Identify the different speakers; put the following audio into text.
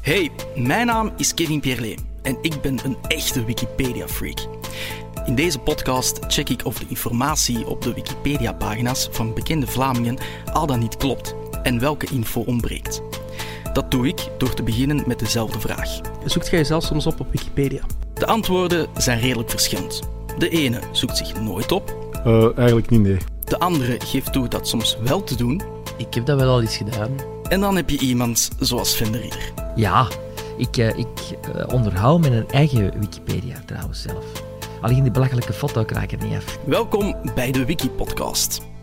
Speaker 1: Hey, mijn naam is Kevin Pierlet en ik ben een echte Wikipedia-freak. In deze podcast check ik of de informatie op de Wikipedia-pagina's van bekende Vlamingen al dan niet klopt en welke info ontbreekt. Dat doe ik door te beginnen met dezelfde vraag.
Speaker 2: Zoekt jij jezelf soms op op Wikipedia?
Speaker 1: De antwoorden zijn redelijk verschillend. De ene zoekt zich nooit op,
Speaker 3: Eh, eigenlijk niet, nee.
Speaker 1: de andere geeft toe dat soms wel te doen,
Speaker 2: Ik heb dat wel al eens gedaan.
Speaker 1: en dan heb je iemand zoals Venderieder.
Speaker 4: Ja, ik, eh, ik eh, onderhoud mijn eigen Wikipedia trouwens zelf. Alleen die belachelijke foto kraak ik er niet af.
Speaker 1: Welkom bij de Wiki-podcast.